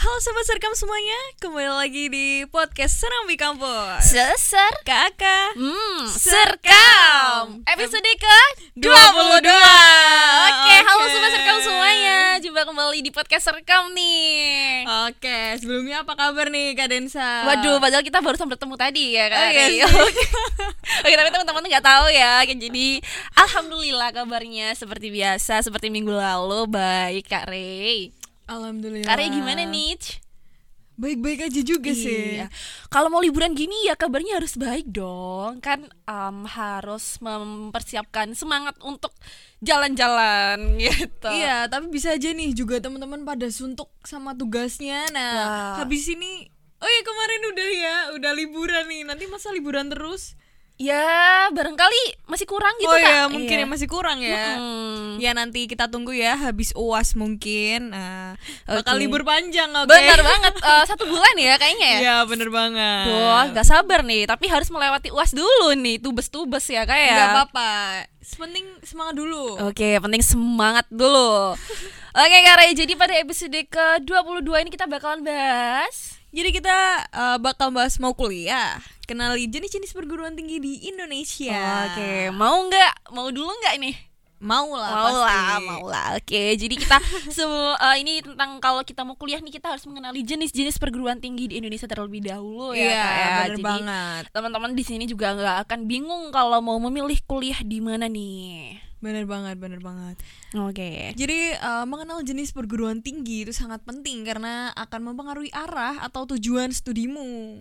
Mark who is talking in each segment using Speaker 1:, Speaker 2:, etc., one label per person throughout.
Speaker 1: Halo sobat serkam semuanya, kembali lagi di podcast Serambi Kampus.
Speaker 2: Seser
Speaker 1: Kakak
Speaker 2: Hmm
Speaker 1: Serkam.
Speaker 2: Episode ke
Speaker 1: 22.
Speaker 2: Oke halo
Speaker 1: Oke.
Speaker 2: sobat serkam semuanya Jumpa kembali di podcast serkam nih
Speaker 1: Oke, sebelumnya apa kabar nih Kak Densa?
Speaker 2: Waduh, padahal kita baru bertemu tadi ya
Speaker 1: Ah. Oh,
Speaker 2: kan.
Speaker 1: iya sih.
Speaker 2: Oke. Oke, tapi teman-teman nggak tahu ya. Kayak Jadi alhamdulillah kabarnya seperti biasa, seperti minggu lalu baik Kak Rey.
Speaker 1: Alhamdulillah.
Speaker 2: Kak Rey gimana nih?
Speaker 1: Baik-baik aja juga sih.
Speaker 2: Iya. Kalau mau liburan gini ya kabarnya harus baik dong. Kan em, harus mempersiapkan semangat untuk jalan-jalan gitu.
Speaker 1: Iya, tapi bisa aja nih juga teman-teman pada suntuk sama tugasnya. Nah,
Speaker 2: Wah.
Speaker 1: habis ini Oh iya kemarin udah ya, udah liburan nih. Nanti masa liburan terus?
Speaker 2: Ya, barangkali masih kurang gitu
Speaker 1: oh
Speaker 2: Kak.
Speaker 1: iya, mungkin ya masih kurang ya.
Speaker 2: Mm-mm.
Speaker 1: Ya nanti kita tunggu ya habis UAS mungkin. Nah, bakal
Speaker 2: Oke.
Speaker 1: libur panjang oke.
Speaker 2: Benar banget Eh, satu bulan ya kayaknya ya.
Speaker 1: Iya, bener banget.
Speaker 2: Wah, nggak sabar nih, tapi harus melewati UAS dulu nih, tubes-tubes ya kayak.
Speaker 1: Nggak apa-apa. Penting semangat dulu.
Speaker 2: Oke, penting semangat dulu. Oke, Kak Ray, jadi pada episode ke-22 ini kita bakalan bahas
Speaker 1: Jadi kita eh, bakal bahas mau kuliah, kenali jenis-jenis perguruan tinggi di Indonesia.
Speaker 2: Oke, mau nggak? Mau dulu nggak ini?
Speaker 1: Mau lah
Speaker 2: Mau
Speaker 1: Oh, pasti.
Speaker 2: lah, mau lah. Oke, jadi kita se eh, ini tentang kalau kita mau kuliah nih kita harus mengenali jenis-jenis perguruan tinggi di Indonesia terlebih dahulu ya.
Speaker 1: Iya,
Speaker 2: Kak, ya.
Speaker 1: bener
Speaker 2: Jadi,
Speaker 1: banget.
Speaker 2: Teman-teman di sini juga nggak akan bingung kalau mau memilih kuliah di mana nih.
Speaker 1: Bener banget, bener banget.
Speaker 2: Oke.
Speaker 1: Jadi eh, mengenal jenis perguruan tinggi itu sangat penting karena akan mempengaruhi arah atau tujuan studimu.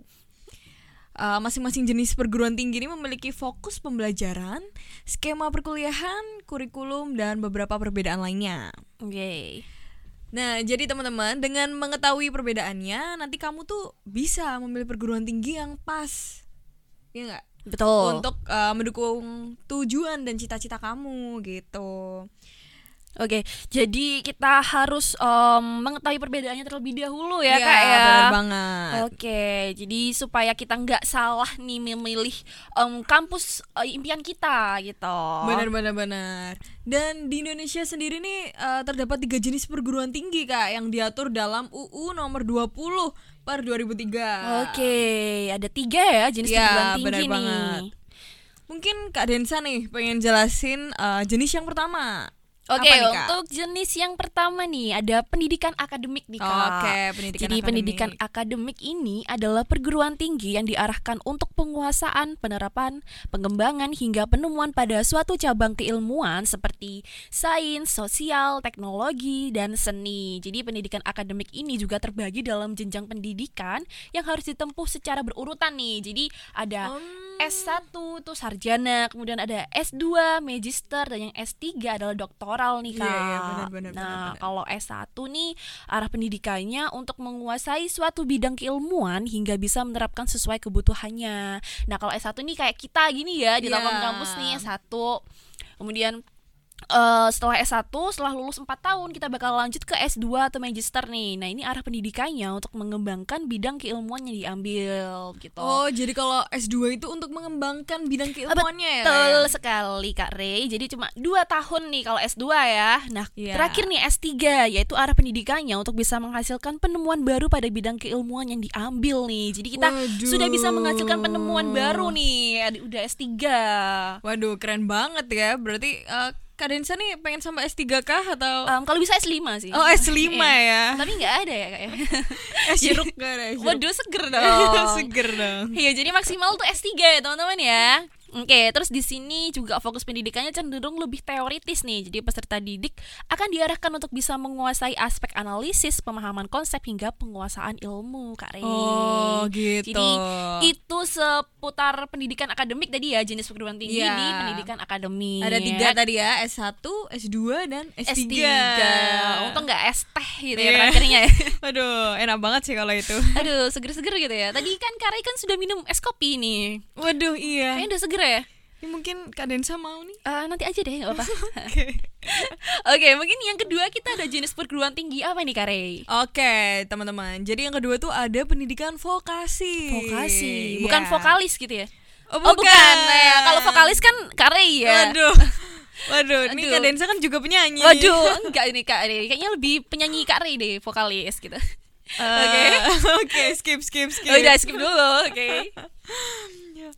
Speaker 1: Eh, Masing-masing jenis perguruan tinggi ini memiliki fokus pembelajaran, skema perkuliahan, kurikulum, dan beberapa perbedaan lainnya.
Speaker 2: Oke.
Speaker 1: Nah, jadi teman-teman, dengan mengetahui perbedaannya, nanti kamu tuh bisa memilih perguruan tinggi yang pas. Iya nggak?
Speaker 2: Betul.
Speaker 1: Untuk eh, mendukung tujuan dan cita-cita kamu gitu.
Speaker 2: Oke, jadi kita harus em, mengetahui perbedaannya terlebih dahulu ya, Kak ya.
Speaker 1: Iya, bener banget.
Speaker 2: Oke, jadi supaya kita nggak salah nih memilih em, kampus eh, impian kita gitu.
Speaker 1: Benar benar benar. Dan di Indonesia sendiri nih eh, terdapat tiga jenis perguruan tinggi Kak yang diatur dalam UU nomor 20 per 2003.
Speaker 2: Oke, ada tiga ya jenis
Speaker 1: Ya,
Speaker 2: perguruan
Speaker 1: benar
Speaker 2: tinggi nih.
Speaker 1: banget. Mungkin Kak Densa nih pengen jelasin eh, jenis yang pertama.
Speaker 2: Oke,
Speaker 1: Apa nih, Kak?
Speaker 2: untuk jenis yang pertama nih ada pendidikan akademik nih kak.
Speaker 1: Oke, pendidikan
Speaker 2: Jadi
Speaker 1: akademik.
Speaker 2: pendidikan akademik ini adalah perguruan tinggi yang diarahkan untuk penguasaan, penerapan, pengembangan hingga penemuan pada suatu cabang keilmuan seperti sains, sosial, teknologi, dan seni. Jadi pendidikan akademik ini juga terbagi dalam jenjang pendidikan yang harus ditempuh secara berurutan nih. Jadi ada
Speaker 1: Hmm.
Speaker 2: S1 tuh sarjana, kemudian ada S2 magister dan yang S3 adalah doktoral
Speaker 1: Iya,
Speaker 2: nih Kak.
Speaker 1: iya, benar, benar, benar,
Speaker 2: nah,
Speaker 1: benar.
Speaker 2: kalau S1 nih arah pendidikannya untuk menguasai suatu bidang keilmuan hingga bisa menerapkan sesuai kebutuhannya. Nah, kalau S1 nih kayak kita gini ya di
Speaker 1: Iya.
Speaker 2: dalam kampus nih S1. Kemudian eh, setelah S1, setelah lulus 4 tahun kita bakal lanjut ke S2 atau magister nih. Nah, ini arah pendidikannya untuk mengembangkan bidang keilmuan yang diambil gitu.
Speaker 1: Oh, jadi kalau S2 itu untuk mengembangkan bidang keilmuannya ya. Kak, ya?
Speaker 2: Betul sekali Kak Rey. Jadi cuma 2 tahun nih kalau S2 ya. Nah,
Speaker 1: Iya.
Speaker 2: terakhir nih S3 yaitu arah pendidikannya untuk bisa menghasilkan penemuan baru pada bidang keilmuan yang diambil nih. Jadi kita
Speaker 1: Waduh.
Speaker 2: sudah bisa menghasilkan penemuan baru nih. Ad- Udah S3.
Speaker 1: Waduh, keren banget ya. Berarti eh, Kak Densa nih pengen sampai S3 kah atau
Speaker 2: Em, kalau bisa S5 sih.
Speaker 1: Oh, S5 ya.
Speaker 2: Tapi nggak ada ya Kak ya.
Speaker 1: Es jeruk gak ada es jeruk.
Speaker 2: Waduh seger dong.
Speaker 1: Seger dong.
Speaker 2: Iya, jadi maksimal tuh S3 ya, teman-teman ya. Oke, terus di sini juga fokus pendidikannya cenderung lebih teoritis nih. Jadi peserta didik akan diarahkan untuk bisa menguasai aspek analisis, pemahaman konsep hingga penguasaan ilmu, Kak Rey.
Speaker 1: Oh, gitu.
Speaker 2: Jadi itu seputar pendidikan akademik tadi ya, jenis perguruan tinggi
Speaker 1: Iya.
Speaker 2: di pendidikan akademik.
Speaker 1: Ada tiga tadi ya, S1, S2, dan S3.
Speaker 2: S3. Untung nggak S teh gitu
Speaker 1: Iya.
Speaker 2: ya terakhirnya ya.
Speaker 1: Waduh, enak banget sih kalau itu.
Speaker 2: Aduh, seger-seger gitu ya. Tadi kan Kak Rey kan sudah minum es kopi nih.
Speaker 1: Waduh, iya.
Speaker 2: Kayaknya udah seger ya?
Speaker 1: Ini mungkin Kak Densa mau nih.
Speaker 2: Eh, nanti aja deh, nggak apa-apa.
Speaker 1: Oke.
Speaker 2: Oke, mungkin yang kedua kita ada jenis perguruan tinggi apa nih, Kare?
Speaker 1: Oke, teman-teman. Jadi yang kedua tuh ada pendidikan vokasi.
Speaker 2: Vokasi, bukan
Speaker 1: Iya.
Speaker 2: vokalis gitu ya?
Speaker 1: Oh,
Speaker 2: Oh, bukan. Ya, kalau
Speaker 1: vokalis
Speaker 2: vokalis kan Kare ya.
Speaker 1: Waduh. Waduh, ini
Speaker 2: Aduh.
Speaker 1: Kak Densa kan juga penyanyi.
Speaker 2: Waduh, enggak ini Kak Rey. Kayaknya lebih penyanyi Kak Rey deh, vokalis gitu.
Speaker 1: Eh,
Speaker 2: Oke.
Speaker 1: Oke, skip skip skip.
Speaker 2: Oh, udah skip dulu, oke.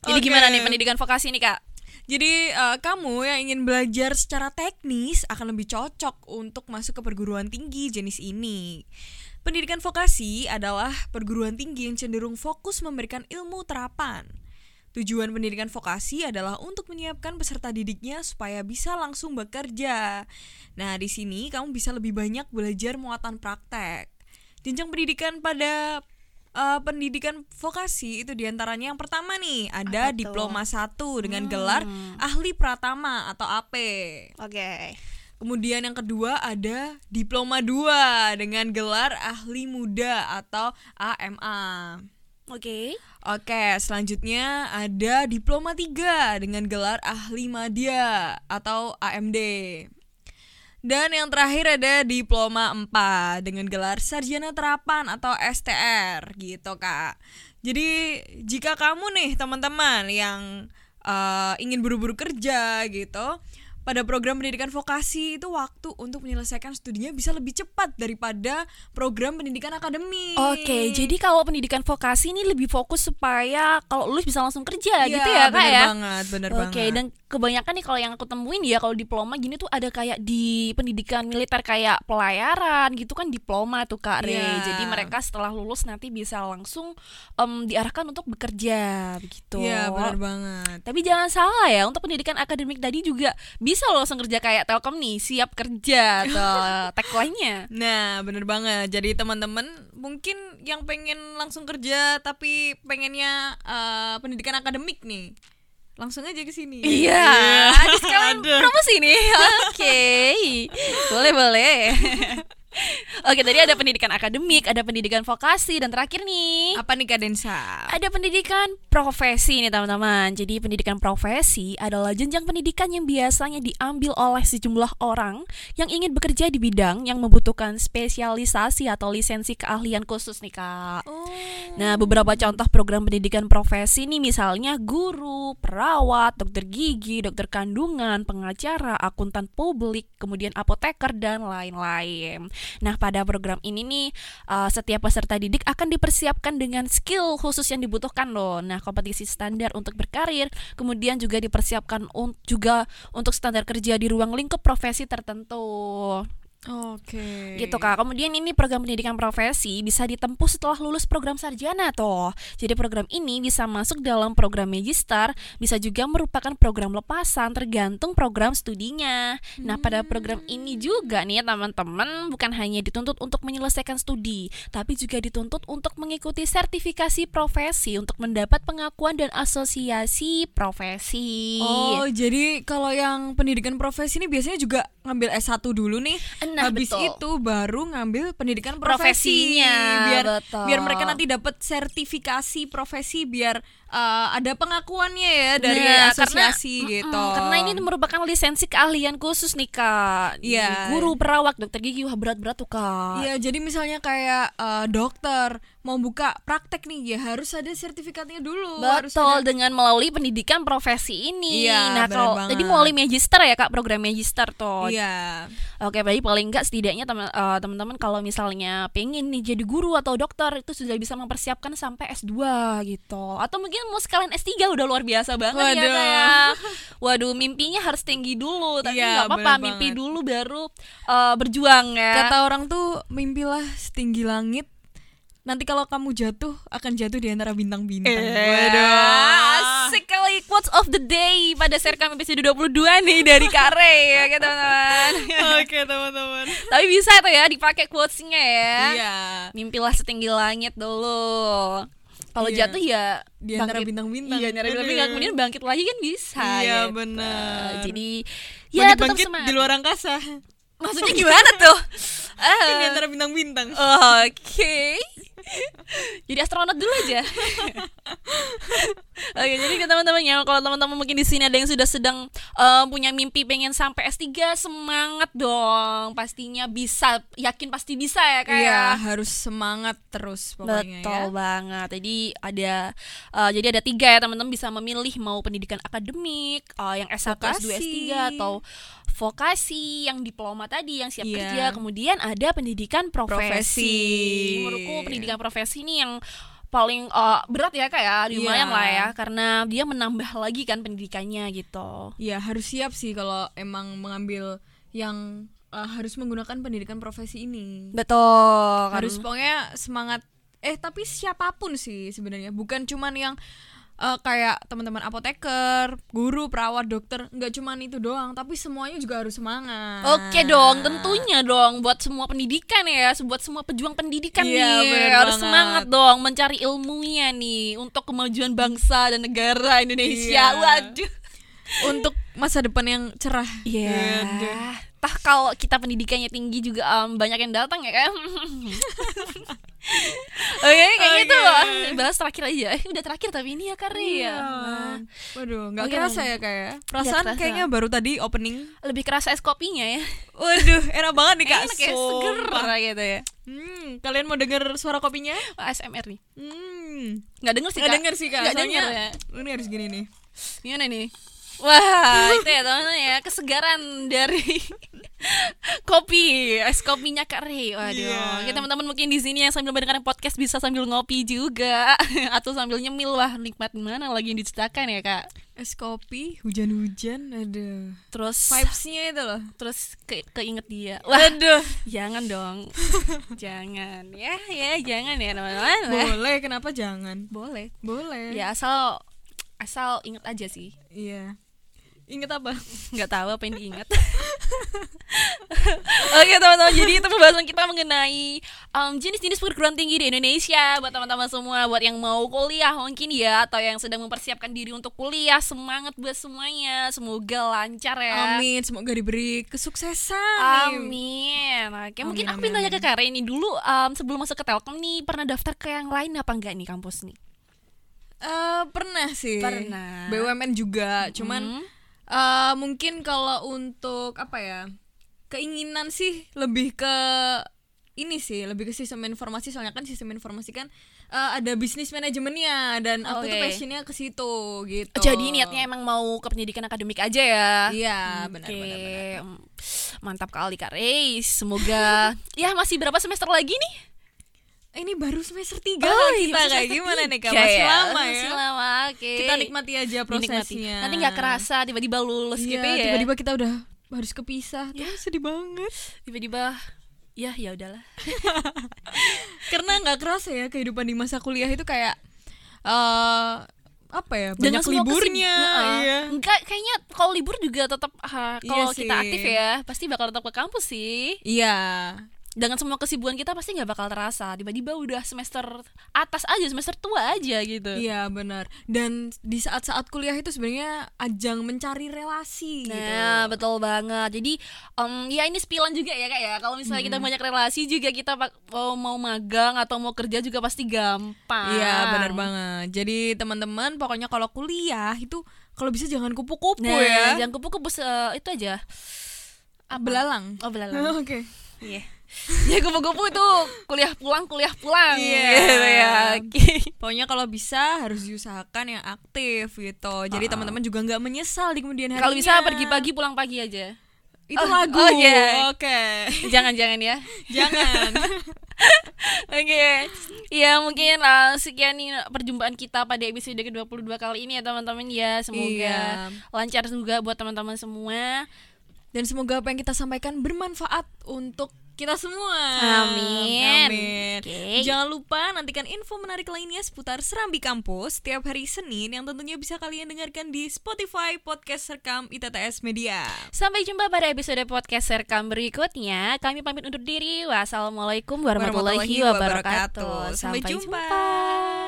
Speaker 2: Jadi
Speaker 1: Oke.
Speaker 2: gimana nih pendidikan vokasi nih kak?
Speaker 1: Jadi eh, kamu yang ingin belajar secara teknis akan lebih cocok untuk masuk ke perguruan tinggi jenis ini. Pendidikan vokasi adalah perguruan tinggi yang cenderung fokus memberikan ilmu terapan. Tujuan pendidikan vokasi adalah untuk menyiapkan peserta didiknya supaya bisa langsung bekerja. Nah, di sini kamu bisa lebih banyak belajar muatan praktek. Jenjang pendidikan pada eh, pendidikan vokasi itu diantaranya yang pertama nih
Speaker 3: Apa
Speaker 1: ada
Speaker 3: tuh?
Speaker 1: diploma 1 dengan gelar ahli pratama atau AP.
Speaker 3: Oke.
Speaker 1: Kemudian yang kedua ada diploma 2 dengan gelar ahli muda atau AMA.
Speaker 2: Oke.
Speaker 1: Oke, selanjutnya ada diploma 3 dengan gelar ahli madya atau AMD. Dan yang terakhir ada diploma 4 dengan gelar sarjana terapan atau STR gitu, Kak. Jadi, jika kamu nih teman-teman yang eh, ingin buru-buru kerja gitu, pada program pendidikan vokasi itu waktu untuk menyelesaikan studinya bisa lebih cepat daripada program pendidikan akademik.
Speaker 2: Oke, jadi kalau pendidikan vokasi ini lebih fokus supaya kalau lulus bisa langsung kerja gitu
Speaker 1: Iya,
Speaker 2: ya kak
Speaker 1: bener
Speaker 2: ya?
Speaker 1: banget, bener
Speaker 2: Oke,
Speaker 1: banget.
Speaker 2: dan kebanyakan nih kalau yang aku temuin ya kalau diploma gini tuh ada kayak di pendidikan militer kayak pelayaran gitu kan diploma tuh Kak Re.
Speaker 1: Iya.
Speaker 2: Jadi mereka setelah lulus nanti bisa langsung em, diarahkan untuk bekerja begitu.
Speaker 1: Iya, benar banget.
Speaker 2: Tapi jangan salah ya, untuk pendidikan akademik tadi juga bisa loh langsung kerja kayak Telkom nih, siap kerja atau tagline-nya.
Speaker 1: Nah, bener banget. Jadi teman-teman mungkin yang pengen langsung kerja tapi pengennya eh, pendidikan akademik nih, langsung aja ke sini.
Speaker 2: Iya, ada sekalian promosi nih. Oke, boleh boleh. Oke, tadi ada pendidikan akademik, ada pendidikan vokasi, dan terakhir nih
Speaker 1: Apa nih kadensa?
Speaker 2: ada pendidikan profesi nih teman-teman. Jadi pendidikan profesi adalah jenjang pendidikan yang biasanya diambil oleh sejumlah orang yang ingin bekerja di bidang yang membutuhkan spesialisasi atau lisensi keahlian khusus nih kak.
Speaker 1: Oh,
Speaker 2: Nah, beberapa contoh program pendidikan profesi nih misalnya guru, perawat, dokter gigi, dokter kandungan, pengacara, akuntan publik, kemudian apoteker dan lain-lain. Nah, pada program ini nih eh, setiap peserta didik akan dipersiapkan dengan skill khusus yang dibutuhkan loh. Nah, kompetisi standar untuk berkarir, kemudian juga dipersiapkan un- juga untuk standar kerja di ruang lingkup profesi tertentu.
Speaker 1: Oke.
Speaker 2: Gitu kak. Kemudian ini program pendidikan profesi bisa ditempuh setelah lulus program sarjana toh. Jadi program ini bisa masuk dalam program magister, bisa juga merupakan program lepasan tergantung program studinya. Nah pada program ini juga nih ya teman-teman bukan hanya dituntut untuk menyelesaikan studi, tapi juga dituntut untuk mengikuti sertifikasi profesi untuk mendapat pengakuan dan asosiasi profesi.
Speaker 1: Oh,
Speaker 2: Iya.
Speaker 1: jadi kalau yang pendidikan profesi ini biasanya juga ngambil S1 dulu nih.
Speaker 2: Nah,
Speaker 1: habis
Speaker 2: betul.
Speaker 1: itu baru ngambil pendidikan profesi.
Speaker 2: Profesinya,
Speaker 1: biar
Speaker 2: betul.
Speaker 1: biar mereka nanti dapat sertifikasi profesi biar eh, ada pengakuannya ya dari
Speaker 2: Nah,
Speaker 1: asosiasi
Speaker 2: karena,
Speaker 1: gitu.
Speaker 2: mm-mm, karena ini merupakan lisensi keahlian khusus nih kak. Di
Speaker 1: Iya.
Speaker 2: Guru, perawat, dokter gigi, wah berat-berat tuh kak.
Speaker 1: Iya, jadi misalnya kayak eh, dokter mau buka praktek nih ya harus ada sertifikatnya dulu. harus
Speaker 2: Betul dengan melalui pendidikan profesi ini.
Speaker 1: Iya,
Speaker 2: nah
Speaker 1: benar
Speaker 2: kalau
Speaker 1: banget.
Speaker 2: tadi melalui magister ya kak program magister
Speaker 1: ada-
Speaker 2: tuh.
Speaker 1: Iya.
Speaker 2: Oke, berarti paling enggak setidaknya teman- eh, teman-teman kalau misalnya pengen nih jadi guru atau dokter itu sudah bisa mempersiapkan sampai S2 gitu. Atau mungkin mau sekalian S3 udah luar biasa banget ya
Speaker 1: Waduh.
Speaker 2: Kak, ya. Waduh, mimpinya harus tinggi dulu, tapi
Speaker 1: Iya,
Speaker 2: nggak apa-apa,
Speaker 1: bener
Speaker 2: mimpi
Speaker 1: banget.
Speaker 2: dulu baru eh, berjuang ya.
Speaker 1: Kata orang tuh mimpilah setinggi langit. Nanti kalau kamu jatuh akan jatuh di antara bintang-bintang.
Speaker 2: Eh. Waduh. Asik kali quotes of the day pada Serkam episode 22 nih dari Kare ya oke, teman-teman.
Speaker 1: Oke, teman-teman.
Speaker 2: Tapi bisa tuh ya dipakai quotesnya ya.
Speaker 1: Iya.
Speaker 2: Mimpilah setinggi langit dulu. Kalau
Speaker 1: Iya.
Speaker 2: jatuh ya
Speaker 1: Di antara
Speaker 2: bangkit.
Speaker 1: bintang-bintang.
Speaker 2: Iya, di antara
Speaker 1: Bener.
Speaker 2: bintang kemudian bangkit lagi kan bisa.
Speaker 1: Iya,
Speaker 2: gitu.
Speaker 1: benar.
Speaker 2: Jadi ya tetap
Speaker 1: Bangkit-bangkit
Speaker 2: semangat.
Speaker 1: di luar angkasa. Eh.
Speaker 2: Maksudnya gimana tuh?
Speaker 1: Di
Speaker 2: Ah.
Speaker 1: Iya, antara bintang-bintang.
Speaker 2: Oke. jadi astronot dulu aja. Oke, jadi ke teman-teman ya, kalau teman-teman mungkin di sini ada yang sudah sedang eh, punya mimpi pengen sampai S3, semangat dong. Pastinya bisa, yakin pasti bisa ya kayak.
Speaker 1: Iya, harus semangat terus pokoknya
Speaker 2: Betul
Speaker 1: ya.
Speaker 2: banget. Jadi ada eh, jadi ada tiga ya teman-teman bisa memilih mau pendidikan akademik, eh, yang S1, S2, S3
Speaker 1: Vokasi.
Speaker 2: atau vokasi yang diploma tadi yang siap
Speaker 1: Iya.
Speaker 2: kerja. Kemudian ada pendidikan profesi.
Speaker 1: Profesi.
Speaker 2: Menurutku pendidikan profesi ini yang paling eh, berat ya kayak
Speaker 1: Iya.
Speaker 2: lumayan lah ya karena dia menambah lagi kan pendidikannya gitu.
Speaker 1: Iya, harus siap sih kalau emang mengambil yang eh, harus menggunakan pendidikan profesi ini.
Speaker 2: Betul.
Speaker 1: harus pokoknya semangat eh tapi siapapun sih sebenarnya bukan cuman yang eh, kayak teman-teman apoteker, guru, perawat, dokter, nggak cuman itu doang, tapi semuanya juga harus semangat.
Speaker 2: Oke dong, tentunya dong buat semua pendidikan ya, buat semua pejuang pendidikan
Speaker 1: Iya,
Speaker 2: nih
Speaker 1: bener
Speaker 2: harus
Speaker 1: banget.
Speaker 2: semangat dong mencari ilmunya nih untuk kemajuan bangsa dan negara Indonesia.
Speaker 1: Iya.
Speaker 2: Waduh.
Speaker 1: Untuk masa depan yang cerah.
Speaker 2: Iya.
Speaker 1: Aduh.
Speaker 2: Tah kalau kita pendidikannya tinggi juga em, banyak yang datang ya kan. Oke, kayak
Speaker 1: Oke.
Speaker 2: gitu. Bahas terakhir aja. Eh, Udah terakhir tapi ini ya
Speaker 1: Iya.
Speaker 2: Kari ya. Wah.
Speaker 1: Waduh, nggak
Speaker 2: Oke,
Speaker 1: kerasa
Speaker 2: dong.
Speaker 1: ya kayak. Perasaan
Speaker 2: Iya, kerasa.
Speaker 1: kayaknya baru tadi opening.
Speaker 2: Lebih kerasa es kopinya ya.
Speaker 1: Waduh, enak banget nih kak.
Speaker 2: Enak ya, seger
Speaker 1: Sumpah.
Speaker 2: gitu ya.
Speaker 1: Hmm, kalian mau denger suara kopinya?
Speaker 2: ASMR nih.
Speaker 1: Hmm.
Speaker 2: Nggak denger sih,
Speaker 1: Nggak
Speaker 2: Kak.
Speaker 1: denger sih kak.
Speaker 2: Nggak
Speaker 1: soalnya
Speaker 2: denger ya.
Speaker 1: Ini harus gini nih.
Speaker 2: Gimana nih? Wah, itu ya teman-teman ya, kesegaran dari kopi, es kopinya Kak Rey. Waduh.
Speaker 1: Iya.
Speaker 2: Oke, teman-teman mungkin di sini yang sambil mendengarkan podcast bisa sambil ngopi juga atau sambil nyemil wah, nikmat mana lagi yang diciptakan ya, Kak.
Speaker 1: Es kopi, hujan-hujan, ada
Speaker 2: Terus
Speaker 1: vibes-nya itu loh.
Speaker 2: terus ke keinget dia. Wah,
Speaker 1: Waduh,
Speaker 2: jangan dong. jangan. Ya, ya, jangan ya, teman-teman. Wah,
Speaker 1: boleh kenapa jangan?
Speaker 2: Boleh.
Speaker 1: Boleh.
Speaker 2: Ya, asal asal inget aja sih.
Speaker 1: Iya. Ingat apa?
Speaker 2: nggak tahu apa yang diingat oke teman-teman jadi itu pembahasan kita mengenai um, jenis-jenis perguruan tinggi di Indonesia buat teman-teman semua buat yang mau kuliah mungkin ya atau yang sedang mempersiapkan diri untuk kuliah semangat buat semuanya semoga lancar ya
Speaker 1: Amin, semoga diberi kesuksesan.
Speaker 2: Amin. Oke, mungkin
Speaker 1: Amin,
Speaker 2: aku minta
Speaker 1: amin,
Speaker 2: tanya ke Kak ini dulu um, sebelum masuk ke Telkom nih pernah daftar ke yang lain apa enggak nih kampus nih?
Speaker 1: Eh, pernah sih.
Speaker 2: Pernah.
Speaker 1: BUMN juga, cuman
Speaker 2: Hmm.
Speaker 1: eh, mungkin kalau untuk apa ya? Keinginan sih lebih ke ini sih, lebih ke sistem informasi soalnya kan sistem informasi kan eh, ada bisnis manajemennya dan aku tuh
Speaker 2: Oke.
Speaker 1: passionnya ke situ gitu.
Speaker 2: Jadi niatnya emang mau ke pendidikan akademik aja ya?
Speaker 1: Iya,
Speaker 2: Oke,
Speaker 1: benar benar benar.
Speaker 2: mm, Mantap kali Kak Reis. Semoga ya masih berapa semester lagi nih?
Speaker 1: Ini baru semester 3
Speaker 2: iya,
Speaker 1: kita
Speaker 2: semester
Speaker 1: kayak gimana nih Kak?
Speaker 2: tiga
Speaker 1: Masih lama ya.
Speaker 2: Iya, Masih lama. Oke.
Speaker 1: Kita nikmati aja
Speaker 2: Dinikmati.
Speaker 1: prosesnya.
Speaker 2: Nanti nggak kerasa tiba-tiba lulus
Speaker 1: Iya,
Speaker 2: gitu ya.
Speaker 1: Tiba-tiba kita udah harus kepisah. Tuh, sedih banget.
Speaker 2: tiba-tiba ya ya udahlah.
Speaker 1: Karena nggak kerasa ya kehidupan di masa kuliah itu kayak eh apa ya? Banyak
Speaker 2: Dengan semua
Speaker 1: liburnya.
Speaker 2: kesibuk- Heeh.
Speaker 1: Iya.
Speaker 2: Enggak, kayaknya kalau libur juga tetap ah, kalau
Speaker 1: Iya
Speaker 2: kita
Speaker 1: sih.
Speaker 2: aktif ya, pasti bakal tetap ke kampus sih.
Speaker 1: Iya.
Speaker 2: Dengan semua kesibukan kita pasti nggak bakal terasa. Tiba-tiba udah semester atas aja, semester tua aja gitu.
Speaker 1: Iya, benar. Dan di saat-saat kuliah itu sebenarnya ajang mencari relasi
Speaker 2: Nah,
Speaker 1: gitu.
Speaker 2: betul banget. Jadi, em, ya ini spilan juga ya kak ya. Kalau misalnya kita banyak relasi juga kita pak- mau mau magang atau mau kerja juga pasti gampang.
Speaker 1: Iya benar
Speaker 2: Kan.
Speaker 1: banget. Jadi teman-teman pokoknya kalau kuliah itu kalau bisa jangan kupu-kupu
Speaker 2: Nah,
Speaker 1: ya. Ah,
Speaker 2: jangan kupu-kupu se- itu aja. Apa?
Speaker 1: Belalang.
Speaker 2: Oh belalang.
Speaker 1: Oke.
Speaker 2: Iya. ya kupu-kupu itu kuliah pulang kuliah pulang.
Speaker 1: Iya.
Speaker 2: Gitu ya. Oke.
Speaker 1: Pokoknya kalau bisa harus diusahakan yang aktif gitu. Jadi
Speaker 2: Ah.
Speaker 1: teman-teman juga nggak menyesal di kemudian hari.
Speaker 2: Kalau bisa pergi pagi pulang pagi aja.
Speaker 1: Itu
Speaker 2: Oh,
Speaker 1: lagu.
Speaker 2: oh, iya.
Speaker 1: Oke.
Speaker 2: Jangan-jangan ya.
Speaker 1: Jangan.
Speaker 2: Oke, ya mungkin uh, sekian nih perjumpaan kita pada episode ke-22 kali ini ya teman-teman ya. Semoga
Speaker 1: Iya.
Speaker 2: lancar juga buat teman-teman semua.
Speaker 1: Dan semoga apa yang kita sampaikan bermanfaat untuk kita semua.
Speaker 2: Amin.
Speaker 1: Amin.
Speaker 2: Oke.
Speaker 1: Jangan lupa nantikan info menarik lainnya seputar Serambi Kampus setiap hari Senin yang tentunya bisa kalian dengarkan di Spotify Podcast Rekam ITTS Media.
Speaker 2: Sampai jumpa pada episode podcast Serkam berikutnya. Kami pamit undur diri. Wassalamualaikum warahmatullahi,
Speaker 1: Warahmatullahi
Speaker 2: wabarakatuh.
Speaker 1: wabarakatuh. Sampai jumpa.